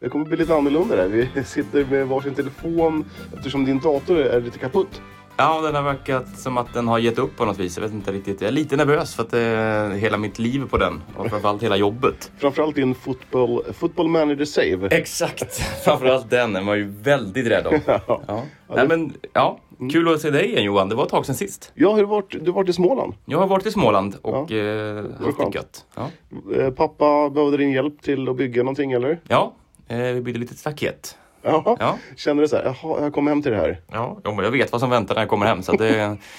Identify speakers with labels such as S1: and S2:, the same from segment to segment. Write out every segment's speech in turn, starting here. S1: Det kommer bli lite annorlunda där. Vi sitter med varsin telefon eftersom din dator är lite kaputt.
S2: Ja, den har verkat som att den har gett upp på något vis. Jag vet inte riktigt. Jag är lite nervös för att eh, hela mitt liv är på den och framförallt hela jobbet.
S1: Framförallt din football, football manager save.
S2: Exakt! Framförallt den är man ju väldigt rädd om.
S1: Ja.
S2: Ja. Nej, men, ja. Kul att se dig igen Johan. Det var ett tag sedan sist.
S1: Ja, hur har du varit, du har varit i Småland.
S2: Jag har varit i Småland och eh, haft det
S1: skönt.
S2: gött. Ja,
S1: Eh, Pappa behövde din hjälp till att bygga någonting eller?
S2: ja eh, vi byggde lite staket.
S1: Ja.
S2: Ja.
S1: Känner du så här, jaha, jag kom hem till det här.
S2: Ja, jo, men jag vet vad som väntar när jag kommer hem så att det,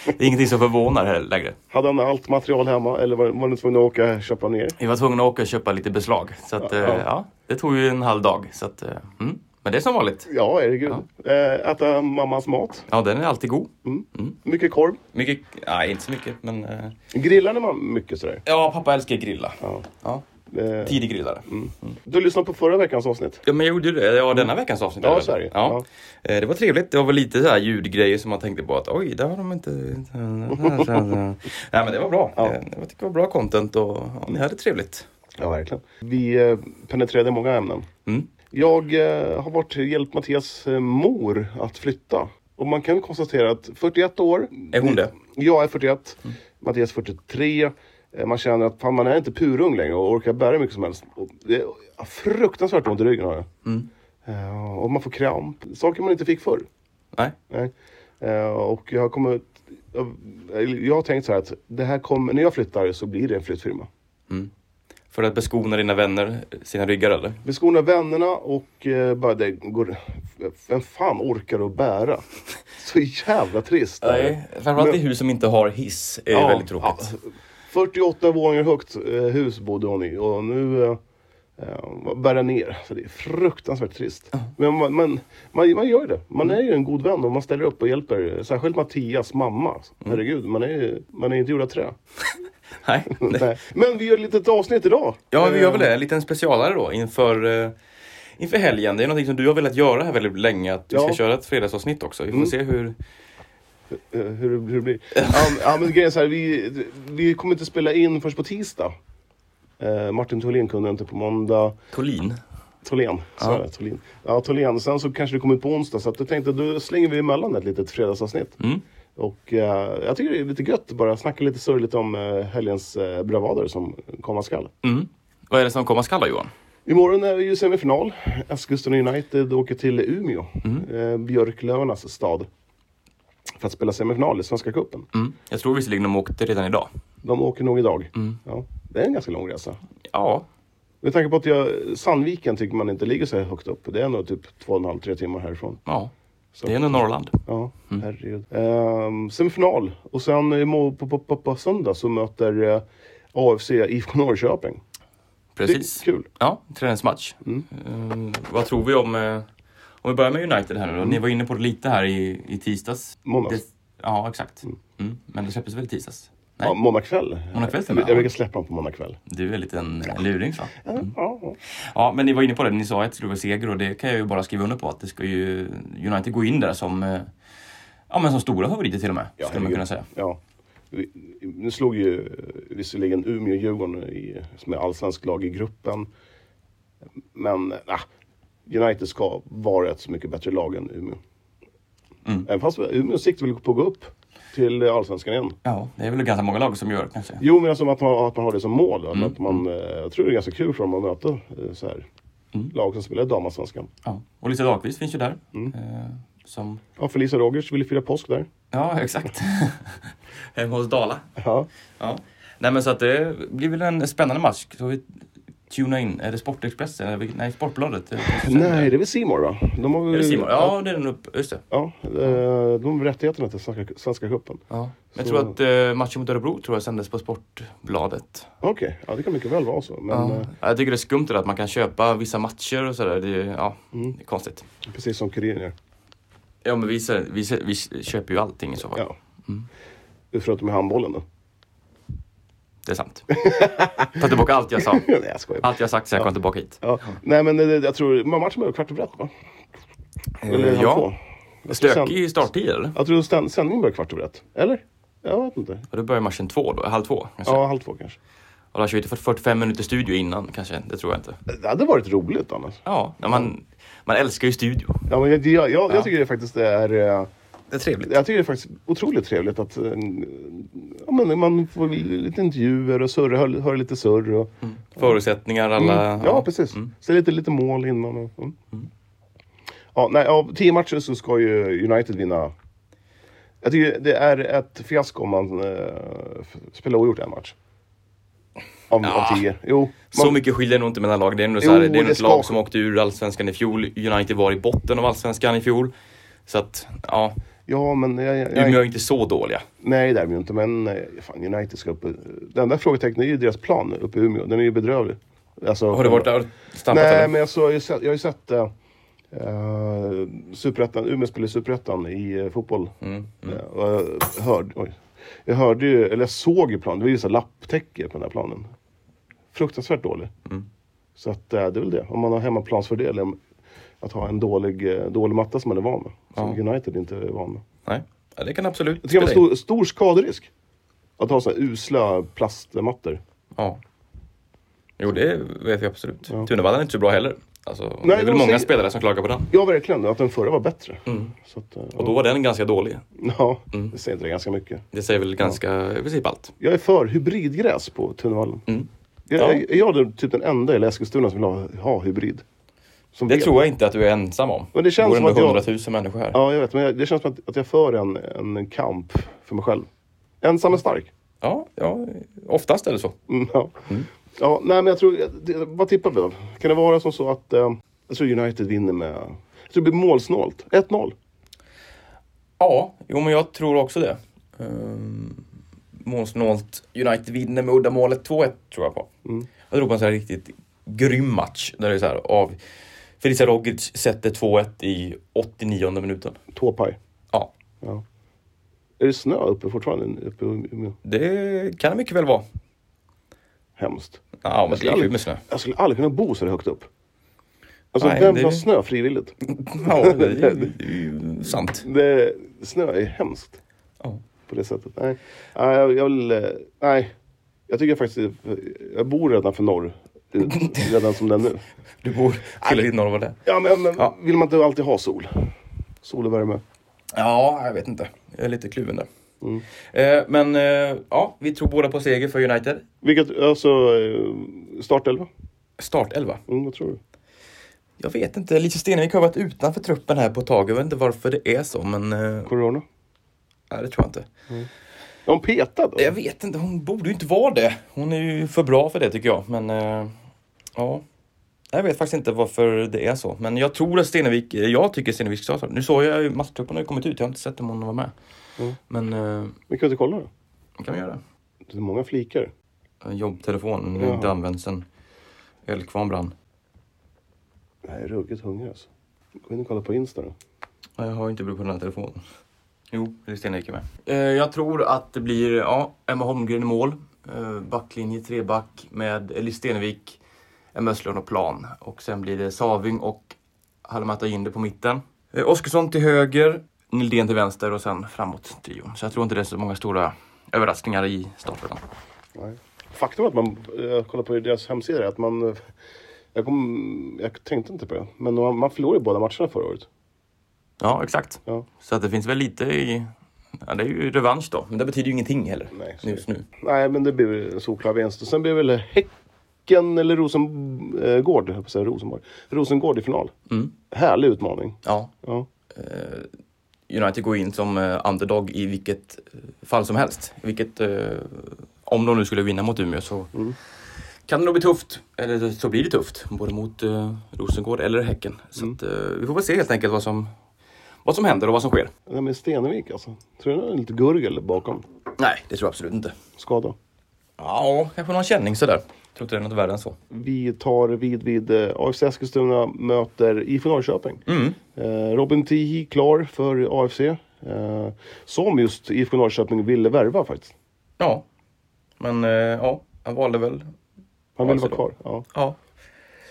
S2: det är ingenting som förvånar här längre.
S1: Hade han allt material hemma eller var, var ni tvungna att åka och köpa ner?
S2: Vi var tvungna att åka och köpa lite beslag. Så att, eh,
S1: Ja.
S2: ja, det tog ju en halv dag. Så att, eh, mm. Men det är som vanligt.
S1: Ja, herregud. Eh, äta mammas mat.
S2: Ja, den är alltid god.
S1: Mycket korv.
S2: Mycket, nej inte så mycket men... eh,
S1: Grillade man mycket sådär?
S2: Ja, pappa älskar att grilla.
S1: Ja.
S2: Ja.
S1: Eh,
S2: Tidig grillare.
S1: du lyssnade på förra veckans avsnitt.
S2: Ja, men jag gjorde ju det. Ja, denna veckans avsnitt.
S1: Ja,
S2: eller?
S1: så är det.
S2: Ja. Eh, Det var trevligt. Det var väl lite så här ljudgrejer som man tänkte på att oj, där har de inte... Nej, men det var bra.
S1: Ja.
S2: Eh, Jag tycker det var bra content och ja, ni hade trevligt.
S1: Ja, verkligen. Vi eh, penetrerade många ämnen.
S2: Mm.
S1: Jag eh, har varit hjälpt Mattias eh, mor att flytta. Och man kan konstatera att 41 år.
S2: Är hon det? Mm.
S1: Jag är 41, Mattias 43. Eh, Man känner att fan, man är inte purung längre och orkar bära hur mycket som helst. Och det är fruktansvärt ont i ryggen har jag.
S2: Mm.
S1: Eh, Och man får kramp. Saker man inte fick förr.
S2: Nej.
S1: Nej. Eh, Och jag har kommit... Jag har tänkt så här att det här kommer, när jag flyttar så blir det en flyttfirma.
S2: För att beskona dina vänner, sina ryggar eller?
S1: Beskona vännerna och eh, bara det går... Vem fan orkar att bära? Så jävla trist. är det.
S2: Nej, framförallt i hus som inte har hiss är
S1: Ja,
S2: väldigt tråkigt.
S1: ja. 48 våningar högt eh, hus bodde hon i och nu eh, eh, bär den ner. Så det är fruktansvärt trist. Men man, man, man, man gör ju det. Man är ju en god vän och man ställer upp och hjälper. Särskilt Mattias mamma.
S2: Mm.
S1: Herregud, man är ju man är inte gjord av trä.
S2: Nej.
S1: Nej. Men vi gör ett litet avsnitt idag.
S2: Ja, vi gör väl det. En liten specialare då inför, eh, inför helgen. Det är någonting som du har velat göra här väldigt länge. Att vi
S1: Ja.
S2: ska köra ett fredagsavsnitt också. Vi får se hur...
S1: Eh, hur, hur det blir. Ja, men- ja, men grejen är så här, vi, vi kommer inte spela in först på tisdag. Eh, Martin Tholén kunde inte på måndag.
S2: Collin.
S1: Tholén. Så
S2: Ja.
S1: är det, Tholén. Ja, Tholén. Sen så kanske det kommer på onsdag. Så att jag tänkte då slänger vi emellan ett litet fredagsavsnitt.
S2: Mm.
S1: Och eh, jag tycker det är lite gött att bara snacka lite sorgligt om eh, helgens eh, bravader som komma skall.
S2: Mm. Vad är det som kommer att skalla Johan?
S1: Imorgon är det ju semifinal. Eskilstuna United åker till Umeå.
S2: Mm.
S1: Eh, Björklövarnas stad. För att spela semifinal i Svenska Cupen.
S2: Mm. Jag tror visserligen de åkte redan idag.
S1: De åker nog idag.
S2: Mm.
S1: Ja, det är en ganska lång resa.
S2: Ja,
S1: Med tanke på att jag, Sandviken tycker man inte ligger så här högt upp. Det är nog typ två och en halv, tre timmar härifrån.
S2: ja.
S1: Så.
S2: det är nog Norrland.
S1: Ja,
S2: Mm.
S1: herregud. Ehm, semifinal. Och sen imorgon på, på, på, på söndag så möter eh, AFC IFK Norrköping.
S2: Precis.
S1: Det är kul.
S2: Ja, träningsmatch. Eh, vad tror vi om... eh, om vi börjar med United här nu då. Ni var inne på det lite här i, i tisdags.
S1: Måndags.
S2: Det, ja, exakt. Mm. Men det släpptes väl i tisdags? Nej,
S1: Ja, måndag kväll.
S2: Måndag kväll,
S1: jag,
S2: ja. Mm.
S1: jag brukar släppa dem på måndag kväll.
S2: du är lite en luring va?
S1: Ja, ja.
S2: Ja, men ni var inne på det. Ni sa att det skulle vara seger och det kan jag ju bara skriva under på. Att det ska ju United gå in där som, eh, ja, men som stora favoriter till och med. skulle man
S1: herregud.
S2: kunna säga.
S1: ja. Vi- Nu slog ju eh, visserligen Umeå-Djurgården i, som är allsvensk lag i gruppen. Men eh, United ska vara ett så mycket bättre lag än Umeå.
S2: Mm.
S1: Även fast Umeå siktar väl på att gå upp till eh, allsvenskan igen.
S2: Ja, det är väl ganska många lag som gör det kanske.
S1: Jo, men alltså att man, att man har det som mål. Då,
S2: Mm.
S1: att man, eh, jag tror det är ganska kul för dem att möta eh, så här,
S2: Mm.
S1: lag som spelar i damallsvenskan.
S2: Ja. Och Lisa Dahlqvist finns ju där. Eh, som,
S1: Ja, Felicia Rogers ville fira påsk där.
S2: ja, exakt. Hemma hos Dala.
S1: Ja.
S2: Ja. Nej, men så att det blir väl en spännande match. Så vi tuna in. Är det Sportexpressen? Eller vil- Nej, Sportbladet. Är det-
S1: Nej, det är väl C More va? De har
S2: Är
S1: väl,
S2: det Simon? Ja, det är den upp. Just det.
S1: Ja, eh, de har rättigheterna till Svenska, svenska cupen.
S2: Ja. Jag
S1: Så-
S2: tror att eh, matchen mot Örebro tror jag sändes på Sportbladet.
S1: Okej, ja, det kan mycket väl vara så. Men
S2: Ja.
S1: eh,
S2: Jag tycker det är skumt det där att man kan köpa vissa matcher och sådär. Det, är- ja,
S1: Mm.
S2: det är konstigt.
S1: precis som Kuriren gör.
S2: Ja, men vi, ser- vi, ser- vi köper ju allting i så fall.
S1: Ja. Mm. Förutom i handbollen då.
S2: Det är sant. Ta tillbaka allt jag sa.
S1: Nej, jag skojar.
S2: Allt jag sagt sen jag kom tillbaka hit.
S1: Ja. Nej, men eh, jag tror men matchen börjar kvart över ett va? Eller halv
S2: ja.
S1: två.
S2: Stökig starttid eller?
S1: Jag tror sänd- sändningen börjar kvart över ett. Eller? Jag vet inte.
S2: Och då börjar matchen två då, halv två. kanske.
S1: Ja, halv två kanske.
S2: Och då har kört 45 minuter studio innan kanske, det tror jag inte.
S1: Det hade varit roligt annars.
S2: Ja, när man, man älskar ju studio.
S1: Ja, men jag, jag, jag, jag tycker det faktiskt är... eh,
S2: Det är trevligt.
S1: Jag tycker det är faktiskt otroligt trevligt att eh, ja, men man får lite intervjuer och surr, hör, hör lite surr. Och,
S2: Förutsättningar, alla...
S1: Mm. Ja, precis. Ställer lite, lite mål innan. Och, mm. Ja, nej, av tio matcher så ska ju United vinna. Jag tycker det är ett fiasko om man eh, f- spelar oavgjort en match. Av,
S2: Ja.
S1: av tio. Jo, man,
S2: Så mycket skiljer det nog inte mellan lag. Det är ändå så här,
S1: Jo,
S2: det är
S1: det
S2: något
S1: ska-
S2: lag som åkte ur Allsvenskan i fjol. United var i botten av Allsvenskan i fjol. Så att, ja,
S1: Ja, men jag, jag, jag,
S2: Umeå är inte så dåliga.
S1: nej det är de ju inte. Men eh, fan, United ska upp. Den där frågetecknet är ju deras plan uppe i Umeå. Den är ju bedrövlig. Alltså,
S2: Har du varit där och stampat
S1: Nej,
S2: eller?
S1: men jag, så, jag har ju sett, jag har ju sett eh, eh, Superettan, Umeå spelar i Superettan i eh, fotboll.
S2: Mm,
S1: Eh, och jag, hörde, oj, jag hörde ju, eller jag såg ju planen, det var ju så här lapptäcke på den här planen. Fruktansvärt dålig.
S2: Mm.
S1: Så att, eh, det är väl det, om man har hemmaplansfördel. om- Att ha en dålig, eh, dålig matta som man är van med. Som United inte är van med.
S2: Nej. Ja, det kan absolut
S1: Jag tycker det var
S2: spela in.
S1: stor, stor skaderisk. Att ha sådana usla plastmattor.
S2: Ja. Jo, det vet jag absolut. Tunavallen är inte så bra heller. Alltså, det är
S1: de
S2: väl många
S1: säger-
S2: spelare som klagar på den.
S1: Ja, verkligen. Att den förra var bättre.
S2: Mm.
S1: Så att, eh,
S2: Och då var den ganska dålig.
S1: ja,
S2: Mm.
S1: det säger inte det ganska mycket.
S2: Det säger väl ganska, i princip allt.
S1: Jag är för hybridgräs på Tunnevallen. Jag,
S2: Mm. Ja.
S1: är- är jag den- typ den enda i Eskilstuna som vill ha, ha hybrid? Som
S2: Det
S1: vet.
S2: tror jag inte att du är ensam om.
S1: Men det känns
S2: går
S1: som att
S2: ändå
S1: jag-
S2: hundratusen människor här.
S1: Ja, jag vet. Men jag, det känns som att, att jag för en, en kamp för mig själv. Ensam är stark.
S2: Ja, ja, oftast är det så.
S1: Mm, ja. ja, nej men jag tror... Det, vad tippar vi då? Kan det vara som så att... Eh, jag tror United vinner med... Jag tror det blir målsnålt. 1-0.
S2: Ja, jo men jag tror också det. Um, målsnålt. United vinner med uddamålet 2-1 tror jag på. Jag tror på en sån här riktigt grym match. Där det är så här av... Felicia Rogic sätter 2-1 i 89 minuten.
S1: Tåpaj.
S2: Ja,
S1: Ja. Är det snö uppe fortfarande? Uppe i Umeå?
S2: det kan det mycket väl vara.
S1: Hemskt.
S2: Ja, men det
S1: skulle
S2: är kul
S1: aldrig-
S2: med snö.
S1: Jag skulle aldrig kunna bo så här högt upp. Alltså,
S2: Nej,
S1: vem
S2: det-
S1: vill ha snö frivilligt?
S2: Ja, det är ju- det är ju sant.
S1: Det, snö är hemskt
S2: Ja.
S1: på det sättet. Nej, nej jag, jag vill... eh, Nej. Jag tycker faktiskt... Jag bor redan för norr. ut- Redan som den nu.
S2: Du bor tillräckligt norr var det
S1: Ja, men, men
S2: Ja.
S1: vill man inte alltid ha sol? Sol och värme.
S2: Ja, jag vet inte. Jag är lite kluven där. Eh, men eh, ja, vi tror båda på seger för United.
S1: Vilket, alltså... eh, Startelva?
S2: Startelva.
S1: Mm, vad tror du?
S2: Jag vet inte, Lise Stenvik har varit utanför truppen här på ett tag. Jag vet inte varför det är så, men... eh,
S1: Corona?
S2: Nej, det tror jag inte.
S1: Är hon petad? då?
S2: Jag vet inte, hon borde ju inte vara det. Hon är ju för bra för det tycker jag, men... eh, Ja. Jag vet faktiskt inte varför det är så, men jag tror att Stenevik, jag tycker Stenevik ska starta. Nu såg jag ju matchtruppen har ju kommit ut, jag har inte sett om hon var med. Men, eh,
S1: Vi kan inte kolla då?
S2: kan vi göra det?
S1: Det är många flikar.
S2: En jobbtelefon, den har inte använts sen Ölkvarn brann.
S1: Jag är ruggigt hungrig alltså. Gå in och kolla på Insta då.
S2: Ja, Jag har inte blivit på den här telefonen. Jo, det är Stenvik är med. Eh, jag tror att det blir ja, Emma Holmgren i mål. Eh, backlinje treback med Elis Stenevik, Emma Östlund och Plan. Och sen blir det Saving och Halimata Jinder på mitten. Eh, Oskarsson till höger, Nildén till vänster och sen framåt trion. Så jag tror inte det är så många stora överraskningar i starten.
S1: Nej. Faktum är att man, jag kollar på deras hemsida, är att man... eh, Jag, kom, jag tänkte inte på det, men man, man förlorade båda matcherna förra året.
S2: Ja, exakt.
S1: Ja.
S2: Så att det finns väl lite i... Ja, det är ju revansch då, men det betyder ju ingenting heller
S1: Nej, så är det.
S2: just nu.
S1: Nej, men det blir väl en solklar vinst. Och sen blir det väl Häcken eller Rosengård, jag höll på att säga Rosenborg. Rosengård i final. Härlig utmaning.
S2: Ja,
S1: Ja.
S2: United går in som eh, underdog i vilket eh, fall som helst. Vilket, eh, om de nu skulle vinna mot Umeå så kan det nog bli tufft. Eller så blir det tufft, både mot eh, Rosengård eller Häcken. Så att, eh, vi får väl se helt enkelt vad som, vad som händer och vad som sker.
S1: Det där med Stenevik alltså. Tror du det är lite gurgel bakom?
S2: Nej, det tror jag absolut inte.
S1: Skada.
S2: Ja, kanske någon känning sådär. Jag tror inte det är något värre än så.
S1: Vi tar vid vid eh, AFC Eskilstuna möter IFK Norrköping. Eh, Robin Tihi klar för AFC. Eh, som just IFK Norrköping ville värva faktiskt.
S2: Ja, men eh, ja, han valde väl
S1: Han ville
S2: AFC
S1: vara
S2: då.
S1: kvar. Ja.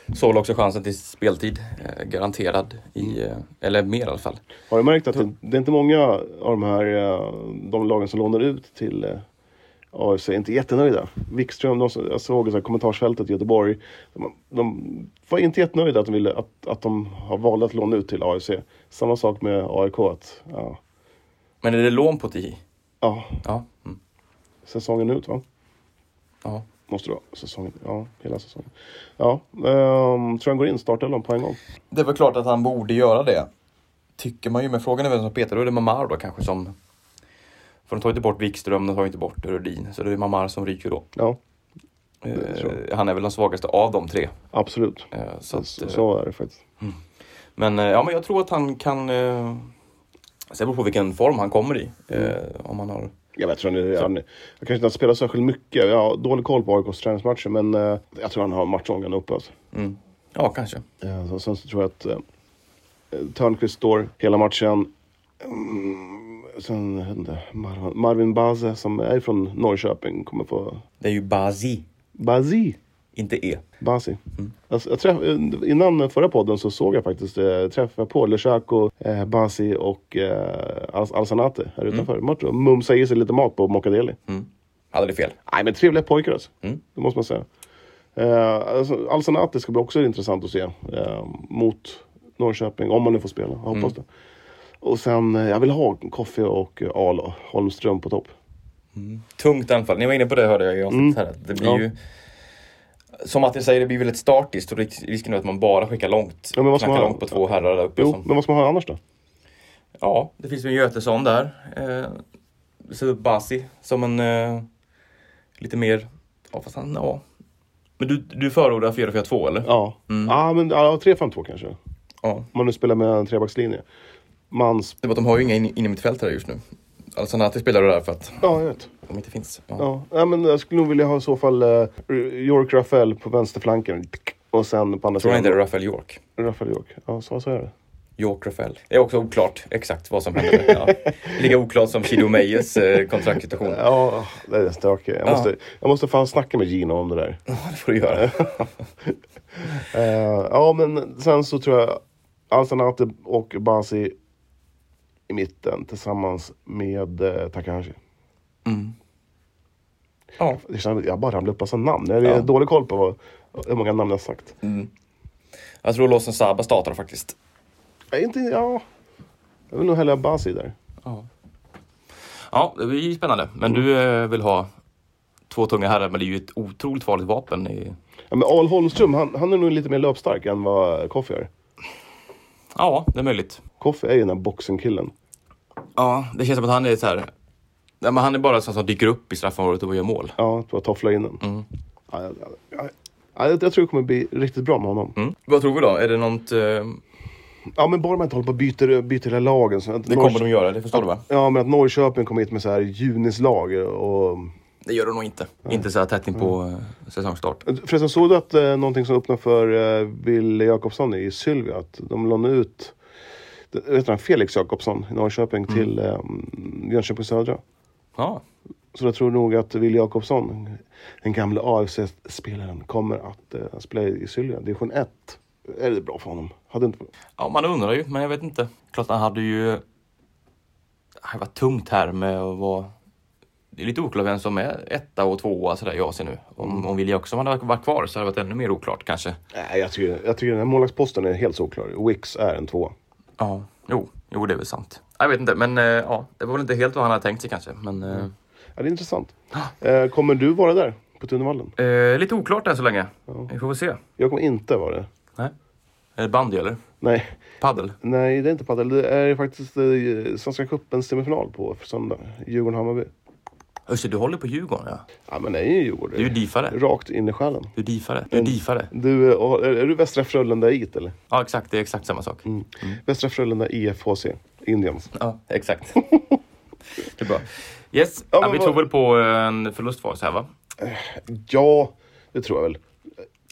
S2: Ja. såg också chansen till speltid. Eh, garanterad. I, eh, eller mer i alla fall.
S1: Har du märkt att det, det är inte många av de här eh, de lagen som lånar ut till eh, AFC är inte jättenöjda. Wikström, de, som- jag såg i så här kommentarsfältet i Göteborg. De, de var inte jättenöjda att de, ville, att, att de har valt att låna ut till AFC. Samma sak med AIK. Att, ja,
S2: Men är det lån på TI?
S1: ja,
S2: Ja. Mm.
S1: säsongen ut va?
S2: ja.
S1: Måste det vara. Säsongen, ja, hela säsongen. Ja, ehm, tror han går in startelvan på en gång.
S2: Det är väl klart att han borde göra det. Tycker man ju, men frågan är vem som petar. Då är det Mamar då kanske som... För de tar ju inte bort Wikström, de tar ju inte bort Rudin. Så det är Mamar som ryker då.
S1: Ja,
S2: Eh,
S1: tror
S2: han är väl den svagaste av de tre.
S1: absolut.
S2: Eh, så
S1: Så,
S2: att, eh,
S1: så är det faktiskt.
S2: Men eh, ja, men jag tror att han kan... Eh, Sen beror på vilken form han kommer i.
S1: Mm.
S2: Eh, om han har...
S1: Jag vet, tror han, är- han, jag kanske inte har spelat särskilt mycket. Jag har dålig koll på AIKs träningsmatcher men eh, jag tror han har matchångan uppe. Alltså.
S2: Mm. Ja, kanske.
S1: Eh, så, sen så tror jag att eh, Törnqvist står hela matchen. Mm, sen jag vet inte, Marvin, Marvin Baze som är från Norrköping kommer få...
S2: Det är ju Bazi,
S1: Bazi!
S2: inte E.
S1: Basi. Alltså, jag träff, innan förra podden så såg jag faktiskt, eh, träffade på Leshako, eh, Basi och eh, Al- Alsanate här utanför. Mm. Mumsade i sig lite mat på Mokadeli.
S2: Hade det fel?
S1: Nej men trevliga pojkar alltså. Det måste man säga. Eh, alltså, Alsanate ska bli också intressant att se. Eh, mot Norrköping, om man nu får spela. Jag hoppas det. Och sen, eh, jag vill ha Koffe och eh, Al Holmström på topp.
S2: Tungt anfall. Ni var inne på det hörde jag i avsnittet här. Det blir
S1: Mm. Ja.
S2: ju... Som Matti säger, det blir väldigt statiskt och risk- risken är att man bara skickar långt.
S1: Ja, men vad ska
S2: Knackar
S1: man-
S2: långt på två herrar där uppe.
S1: Jo,
S2: Som...
S1: men vad ska man ha annars då?
S2: Ja, det finns ju en Götesson där. Eh, Sätter upp Basi som en eh, lite mer... Ja, fast han... Ja. Men du, du förordar 4-4-2 eller?
S1: Ja, ah, men ja, 3-5-2 kanske. Om
S2: ja.
S1: man nu spelar med en trebackslinje. Mans...
S2: Det var att de har ju inga in, in i mitt fält här just nu. Alltså Nati spelar det där för att
S1: Ja, jag vet.
S2: de inte finns. Ja.
S1: Ja, ja, men jag skulle nog vilja ha i så fall eh, York Rafael på vänsterflanken. Och sen på andra
S2: Tror han inte
S1: sidan
S2: det är Rafael York?
S1: Rafael York. Ja, så, så är det.
S2: York Rafael. Det är också oklart exakt vad som hände. Ja. Lika oklart som Shido Meyers eh, kontraktssituation. Ja,
S1: Ja, det är stökigt. Jag,
S2: Ja.
S1: måste, jag måste fan snacka med Gino om det där.
S2: det får du göra.
S1: Eh, ja, men sen så tror jag Alsanate och Basi i mitten tillsammans med eh, Takahashi.
S2: Ja.
S1: Det känns, jag bara ramlar upp massa namn. Jag har
S2: Ja. Mm.
S1: dålig koll på vad, hur många namn jag har sagt.
S2: Jag tror Lawson Saba startar faktiskt.
S1: Jag, är Eh, inte, ja, jag vill nog hellre ha Basi där.
S2: Ja. ja, det blir spännande. Men du eh, vill ha två tunga herrar, men det är ju ett otroligt farligt vapen. I...
S1: Ja, men Al Holmström, han, han är nog lite mer löpstark än vad Koffe är.
S2: Ja, det är möjligt.
S1: Koffe är ju den här boxingkillen.
S2: Ja, det känns som att han är så här... Nej, men han är bara en sån som dyker upp i straffområdet och gör mål.
S1: Ja, att bara toffla in den.
S2: Mm.
S1: Ja, jag, jag, jag, jag tror det kommer bli riktigt bra med honom.
S2: Mm. Vad tror vi då? Är det något... Eh...
S1: Ja men bara man inte håller på och byter, byter hela lagen. Så att
S2: Det kommer de göra, det förstår du va?
S1: Ja men att Norrköping kommer hit med så här junislag och...
S2: Det gör de nog inte. Inte så här tätt in på eh, säsongstart.
S1: Förresten såg du att eh, någonting som öppnade för eh, Wille Jakobsson i Sylvia, att de lånade ut det- vet du, han, Felix Jakobsson i Norrköping
S2: Mm.
S1: till eh, Jönköping Södra.
S2: Ja,
S1: Så jag tror nog att Wille Jakobsson, den gamla AFC-spelaren, kommer att eh, spela i Sylvia, division 1. Är det bra för honom? Hade inte...
S2: ja man undrar ju, men jag vet inte. Klart han hade ju... Det var tungt här med att vara... Det är lite oklart vem som är etta och tvåa sådär jag ser nu. Om, om Willy också hade varit kvar så hade det varit ännu mer oklart kanske.
S1: Nej, jag tycker, jag tycker den här målvaktsposten är helt såklar. Wicks är en tvåa.
S2: Ja. Jo, jo det är väl sant. Jag vet inte, men eh, ja, det var väl inte helt vad han hade tänkt sig kanske. Men eh,
S1: Ja, det är intressant. Eh, kommer du vara där på Tunavallen?
S2: eh, lite oklart än så länge. Vi får väl se.
S1: Jag kommer inte vara det.
S2: Nej. Är det bandy eller?
S1: Nej,
S2: Paddel?
S1: nej det är inte padel. Det är faktiskt eh, Svenska cupens semifinal på söndag. Djurgården-Hammarby.
S2: Just det, du håller på Djurgården ja.
S1: Ja, men det är ju
S2: Du är ju
S1: Djurgården.
S2: difare.
S1: Rakt in i själen.
S2: Du är difare. Du är difare.
S1: Du, eh, och- är, är du Västra Frölunda IF eller?
S2: Ja, exakt. Det är exakt samma sak.
S1: Västra Frölunda IFHC. Indians.
S2: Ja, exakt. det är bra. Yes,
S1: Ja,
S2: ja,
S1: men
S2: vi
S1: vad-
S2: tror väl på en förlustfas här va?
S1: Ja, det tror jag väl.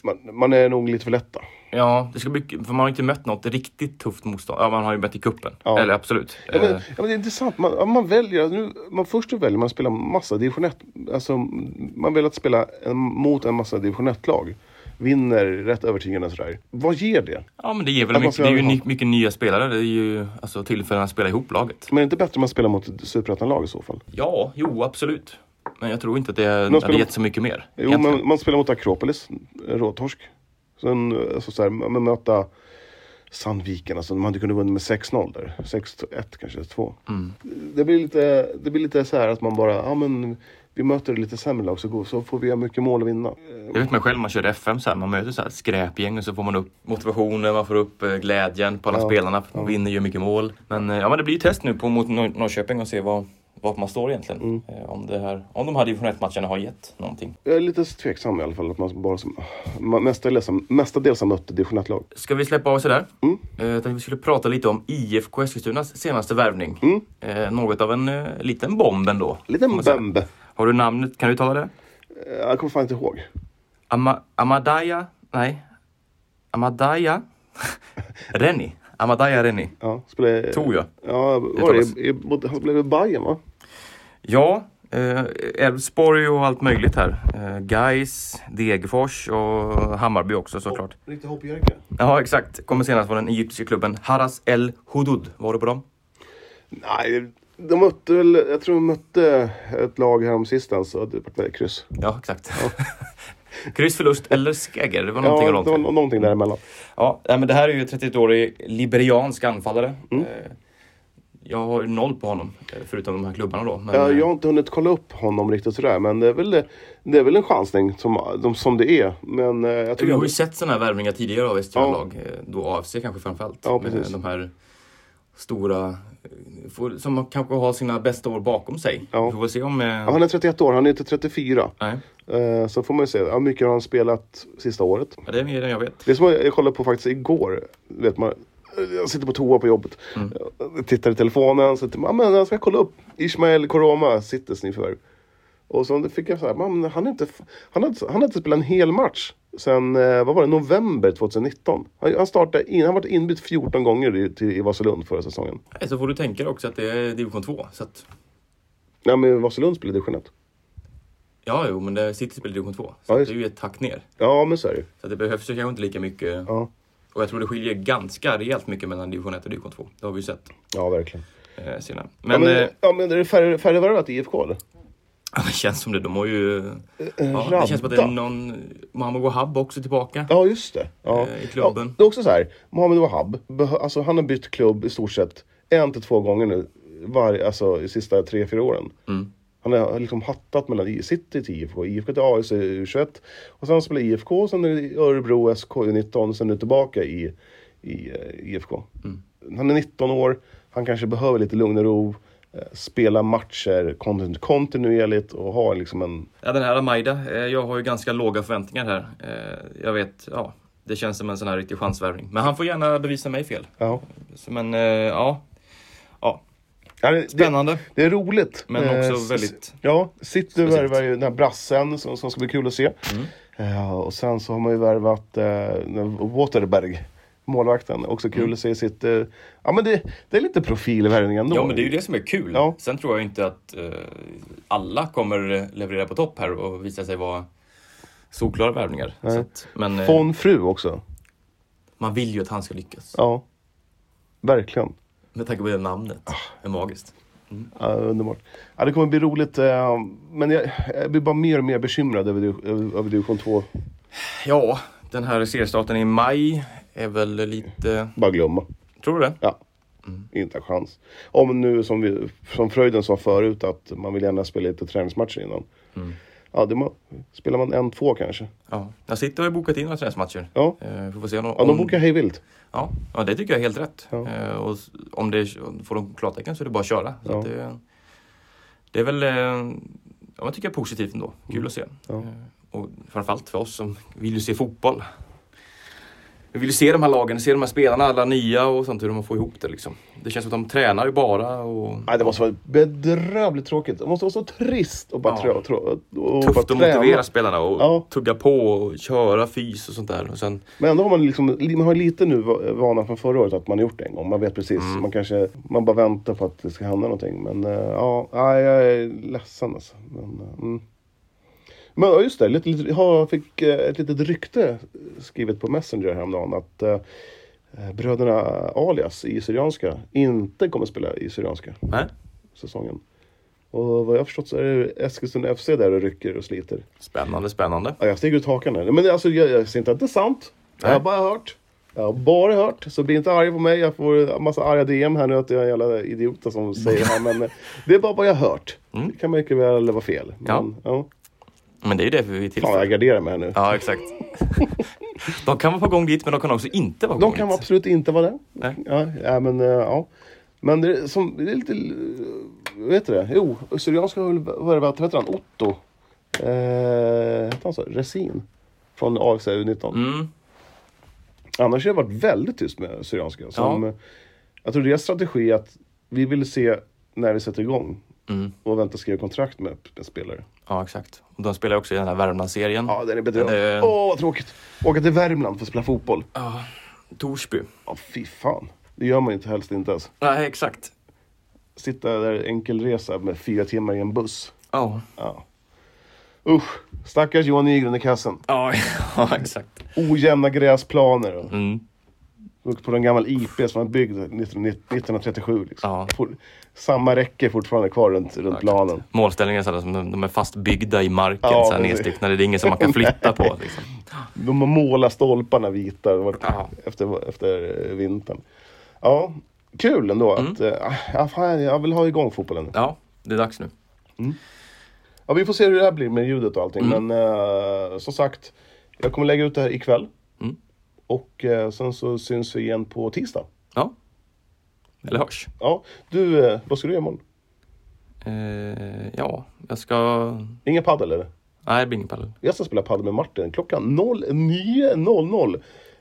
S1: Man, man är nog lite för lätta.
S2: Ja, det ska bli, för man har inte mött något riktigt tufft motstånd. Ja, man har ju mött i kuppen.
S1: Ja.
S2: Eller absolut.
S1: Ja, men,
S2: Eh,
S1: ja, men det är intressant. Man, ja, man väljer, nu, man, först så väljer man att spela massa division 1. Alltså, man väljer att spela en, mot en massa division 1-lag. vinner rätt övertygande sådär. Vad ger det?
S2: Ja, men det ger väl
S1: Att man
S2: mycket.
S1: ska
S2: Det är ju
S1: ha-
S2: ny, mycket nya spelare. Det är ju alltså, tillfällen att spela ihop laget.
S1: Men är det inte bättre om man spelar mot ett superettanlag i så fall?
S2: Ja, jo, absolut. Men jag tror inte att det
S1: spelar-
S2: hade gett så mycket mer.
S1: Jo,
S2: egentligen.
S1: men man spelar mot Akropolis, eh, råtorsk. Sen eh, alltså, så här, man man möta Sandviken, alltså man hade kunnat vinna med 6-0 där. 6-1 kanske, 2.
S2: Mm.
S1: Det, blir lite, det blir lite så här att man bara, ja men vi möter lite sämre lag så, går, så får vi göra mycket mål och vinna. Eh,
S2: Jag vet man själv, man körde FM så här, man möter så här ett skräpgäng och så får man upp motivationen, man får upp eh, glädjen på alla
S1: Ja,
S2: spelarna. För man vinner ju mycket mål. Men eh, ja, men det blir ju test nu på, mot Nor- Norrköping och se vad, vad man står egentligen.
S1: Mm.
S2: Eh, Om, det här, om de här division 1-matcherna har gett någonting.
S1: Jag är lite tveksam i alla fall att man bara som, man, mestadels, mestadels har mött division 1-lag.
S2: Ska vi släppa av oss där?
S1: Mm.
S2: Eh, Jag tänkte vi skulle prata lite om IFK Eskilstunas senaste värvning.
S1: Mm.
S2: Eh, Något av en eh, liten bomb ändå.
S1: Lite
S2: kan man säga.
S1: bembe.
S2: Har du namnet? Kan du uttala det?
S1: Eh, Jag kommer fan inte ihåg.
S2: Ama, Amadaya? Nej. Amadaya? Rennie. Amadaya Rennie.
S1: Ja, spelade,
S2: Tror jag.
S1: Ja, var det, i, i, han blev i Bayern va?
S2: Ja, eh, Elfsborg och allt möjligt här. Eh, Gais, Degerfors och Hammarby också såklart.
S1: Riktigt hoppjerka.
S2: Ja, exakt. Kommer senast från den egyptiska klubben Haras El Hudud. Var du på dem?
S1: Nej, de mötte väl, jag tror de mötte ett lag häromsistens så alltså, det vart väl kryss.
S2: Ja, exakt. Kryss, förlust eller seger. Det var någonting
S1: Ja,
S2: av
S1: det var
S2: någonting.
S1: nå- någonting däremellan.
S2: Ja, nej, men det här är ju 31-årig liberiansk anfallare.
S1: Mm.
S2: Eh, Jag har ju noll på honom, eh, förutom de här klubbarna då. Men,
S1: Ja,
S2: eh,
S1: jag har inte hunnit kolla upp honom riktigt sådär, men det är väl, det är väl en chansning som, de, som det är. Men eh, jag
S2: Vi
S1: tycker...
S2: har ju sett sådana här värvningar tidigare av Västerbottens
S1: Ja.
S2: lag, eh, då AFC kanske framförallt.
S1: Ja,
S2: med
S1: precis.
S2: de här stora, eh, får- som kanske har sina bästa år bakom sig.
S1: Ja.
S2: Vi får väl se om... eh,
S1: Ja, han är 31 år, han är inte 34.
S2: Nej,
S1: Eh, så får man ju se, hur mycket har han spelat sista året?
S2: ja, det är mer än jag vet.
S1: Det som jag jag kollade på faktiskt igår, vet man, jag sitter på toa på jobbet.
S2: Mm.
S1: Jag tittar i telefonen, så tänkte jag, "Ah, men jag ska kolla upp Ismael Koroma, Citys nyförvärv. Och så fick jag så här, "Man, han, är inte, f- han, hade, han hade inte spelat en hel match sen, eh, vad var det, november 2019. Han, han startade, in, han varit inbytt 14 gånger i, till, i Vasalund förra säsongen.
S2: Nej, Så får du tänka dig också att det är division 2. Så att,
S1: Nej men Vasalund spelade division 1.
S2: ja, jo, men det City spelar division 2.
S1: Ja,
S2: Så att
S1: just-
S2: det är ju ett tack ner.
S1: Ja men så är det ju.
S2: Så att det behövs ju kanske inte lika mycket.
S1: Ja.
S2: Och jag tror det skiljer ganska rejält mycket mellan division 1 och division 2. Det har vi ju sett
S1: Ja verkligen.
S2: eh, senare.
S1: Men,
S2: Men,
S1: ja,
S2: eh,
S1: men, ja, men är det färre, färre värvat i IFK eller?
S2: det känns som det. De har
S1: Eh,
S2: ju... Ja,
S1: radda.
S2: det känns som att det är någon... Mohamed Wahab också tillbaka.
S1: Ja, just det. Ja.
S2: Eh, i klubben.
S1: Ja, det är också så här, Mohamed Wahab, behö- alltså han har bytt klubb i stort sett en till två gånger nu, var, alltså i sista tre, fyra åren.
S2: Mm.
S1: Han har liksom hattat mellan I- City till IFK, IFK till AIC U21 och sen spelar IFK, sen är det i Örebro SK U19, sen är det tillbaka i, i eh, IFK.
S2: Mm.
S1: Han är 19 år, han kanske behöver lite lugn och ro, eh, spela matcher kontin- kontinuerligt och ha liksom en...
S2: Ja, den här Amaida, eh, jag har ju ganska låga förväntningar här. Eh, Jag vet, ja, det känns som en sån här riktig chansvärvning. Men han får gärna bevisa mig fel.
S1: Ja.
S2: Så, Men eh, ja, ja
S1: Ja, det- det-
S2: spännande.
S1: Det är roligt. Eh,
S2: Men också
S1: s-
S2: väldigt
S1: Ja, City
S2: speciellt. Mm.
S1: värvar ju den här brassen som, som ska bli kul att se. Eh, och sen så har man ju värvat eh, Waterberg, målvakten. Också kul
S2: Mm.
S1: att se i sitt... eh, ja men det, det är lite profilvärvning ändå.
S2: Ja, men det är ju det som är kul.
S1: Ja.
S2: Sen tror jag inte att eh, alla kommer eh, leverera på topp här och visa sig vara solklara värvningar. Så att, men eh,
S1: Von Fru också.
S2: man vill ju att han ska lyckas.
S1: Ja. Verkligen.
S2: Med tanke på det namnet. Det är magiskt.
S1: Ja, underbart. Ja, det kommer bli roligt. eh, men jag, jag blir bara mer och mer bekymrad över, div- över, över division 2.
S2: Ja, den här seriestarten i maj är väl lite...
S1: Bara glömma.
S2: Tror du det?
S1: Ja. Inte en chans. Om nu som, vi, som Fröjden sa förut att man vill gärna spela lite träningsmatcher innan. Ja, det må, spelar man en, två kanske.
S2: Ja. Jag sitter och har bokat in några träningsmatcher.
S1: Ja,
S2: Eh, får vi se om,
S1: ja de bokar hej vilt.
S2: ja, ja, det tycker jag är helt rätt.
S1: Ja.
S2: Eh, och s- om det är- får de klartecken så är det bara att köra. Så
S1: Ja.
S2: att det, det är väl, eh, ja, jag tycker jag är positivt ändå. Kul att se.
S1: Mm. Ja.
S2: Eh, och framförallt för oss som vill ju se fotboll. Vi vill ju se de här lagen, se de här spelarna, alla nya och sånt, hur de får ihop det liksom. Det känns som att de tränar ju bara och
S1: Nej, det måste vara bedrövligt tråkigt. Det måste vara så trist och bara
S2: Ja.
S1: trå, trå, och
S2: tufft
S1: bara
S2: att motivera spelarna och
S1: Ja.
S2: tugga på och köra fys och sånt där. Och sen,
S1: Men ändå har man, liksom, man har lite nu va- vana från förra året att man har gjort det en gång. Man vet precis. Man kanske man bara väntar på att det ska hända någonting. Men eh, ja, nej, jag är ledsen alltså. Men, eh, mm. Men ja, just det, lite, lite, jag fick eh, ett litet rykte skrivet på Messenger häromdagen att eh, bröderna Alias i Syrianska inte kommer spela i Syrianska
S2: Nej.
S1: säsongen. Och vad jag har förstått så är det Eskilstuna FC där och rycker och sliter.
S2: Spännande, spännande.
S1: Ja, jag stiger ut hakan här. Men alltså, jag, jag ser inte att det är sant. Jag har
S2: Nej.
S1: bara hört. Jag har bara hört. Så bli inte arg på mig. Jag får en massa arga DM här nu att jag är en jävla idiot som säger det här. Men eh, det är bara vad jag har hört. Det kan mycket väl vara fel. Men, ja.
S2: Men det är ju därför vi är till
S1: Fan, jag
S2: för.
S1: garderar mig här nu.
S2: Ja, exakt. De kan vara på gång dit, men de kan också inte vara på
S1: De
S2: gång
S1: kan
S2: dit.
S1: absolut inte vara det.
S2: Nej.
S1: Ja, ja, men, eh, ja. men det är, som, det är lite... eh, Vet du det? Jo, Syrianska har väl värvat, vad heter han, Otto? Eh, hette han så? Resin? Från AFC U19.
S2: Mm.
S1: Annars har det varit väldigt tyst med Syrianska. Som, eh,
S2: Ja.
S1: Jag tror deras strategi är att vi vill se när vi sätter igång
S2: Mm.
S1: och vänta skriva kontrakt med en spelare.
S2: Ja, exakt. Och de spelar också i den här Värmlandsserien.
S1: Ja, den är bedrövlig.
S2: Det
S1: Åh,
S2: är-
S1: vad tråkigt! Åka till Värmland för att spela fotboll. Ja,
S2: Torsby.
S1: fy fan. Det gör man ju inte helst inte ens.
S2: Nej, exakt.
S1: Sitta där enkelresa med fyra timmar i en buss.
S2: Ja,
S1: Ja. Usch, stackars Johan Nygren i kassen.
S2: ja, ja exakt.
S1: Ojämna gräsplaner. och-
S2: Mm.
S1: Och på en gammal IP som var byggd 1937. Liksom.
S2: Ja.
S1: For, samma räcke fortfarande kvar runt, runt planen.
S2: Målställningar är sådana som de de är fastbyggda i marken,
S1: Ja,
S2: så här
S1: precis.
S2: nedstickade. Det är inget som man kan flytta på. Liksom.
S1: De har målat stolparna vita det var
S2: Ja.
S1: efter, efter eh, vintern. Ja, kul ändå. Att,
S2: Mm.
S1: eh, ah, fan, jag vill ha igång fotbollen.
S2: Ja, det är dags nu.
S1: Ja, vi får se hur det här blir med ljudet och allting.
S2: Mm.
S1: Men eh, som sagt, jag kommer lägga ut det här ikväll.
S2: Mm.
S1: Och eh, sen så syns vi igen på tisdag.
S2: Ja. Eller hörs.
S1: Ja, du, eh, vad ska du göra imorgon?
S2: Eh, ja, jag ska...
S1: Inga padel eller?
S2: Nej, det blir ingen padel.
S1: Jag ska spela padel med Martin klockan 09.00.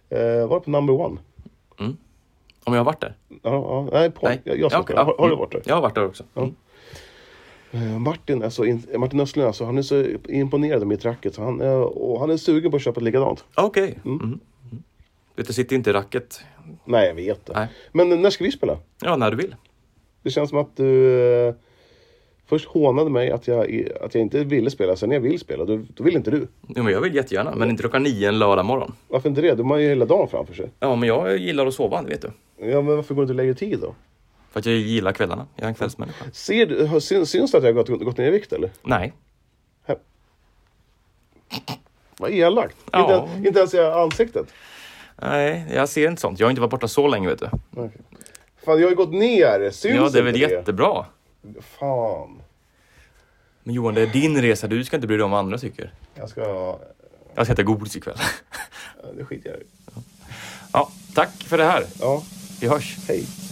S1: Eh, var det på number one?
S2: Om jag har varit där?
S1: Ja, ja, nej, på.
S2: Nej.
S1: Jag, jag ska
S2: Ja, okej.
S1: spela. Har, har du
S2: Mm.
S1: varit där?
S2: Jag har varit där också. Mm.
S1: Eh, Martin, alltså, in, Martin Östlund, alltså, han är så imponerad av mitt racket. Så han, eh, och han är sugen på att köpa ett likadant.
S2: Okej. Mm. Mm. Vet du, sitter inte i racket.
S1: Nej, jag vet det.
S2: Nej.
S1: Men eh, när ska vi spela?
S2: Ja, när du vill.
S1: Det känns som att du eh, först hånade mig att jag, att jag inte ville spela. Sen när jag vill spela, då, då vill inte du.
S2: Jo, men jag vill jättegärna, men inte klockan nio en lördag morgon.
S1: Varför inte det? De har ju hela dagen framför sig.
S2: Ja, men jag gillar att sova, det vet du.
S1: Ja, men varför går du inte lägre tid då?
S2: För att jag gillar kvällarna. Jag är en kvällsmänniska.
S1: Ser du, har- syns, syns det att jag har gått, gått ner i vikt eller?
S2: Nej.
S1: Här. Vad elakt.
S2: Ja.
S1: Inte, ens- inte ens i ansiktet.
S2: Nej, jag ser inte sånt. Jag har inte varit borta så länge, vet du.
S1: Fan, jag har ju gått ner. Syns
S2: Ja, det är väl
S1: inte
S2: jättebra.
S1: Fan.
S2: Men Johan, det är din resa. Du ska inte bry dig om vad andra tycker.
S1: Jag ska...
S2: Jag ska äta godis ikväll.
S1: Det skiter jag i.
S2: Ja, tack för det här.
S1: Ja,
S2: Vi hörs.
S1: hej.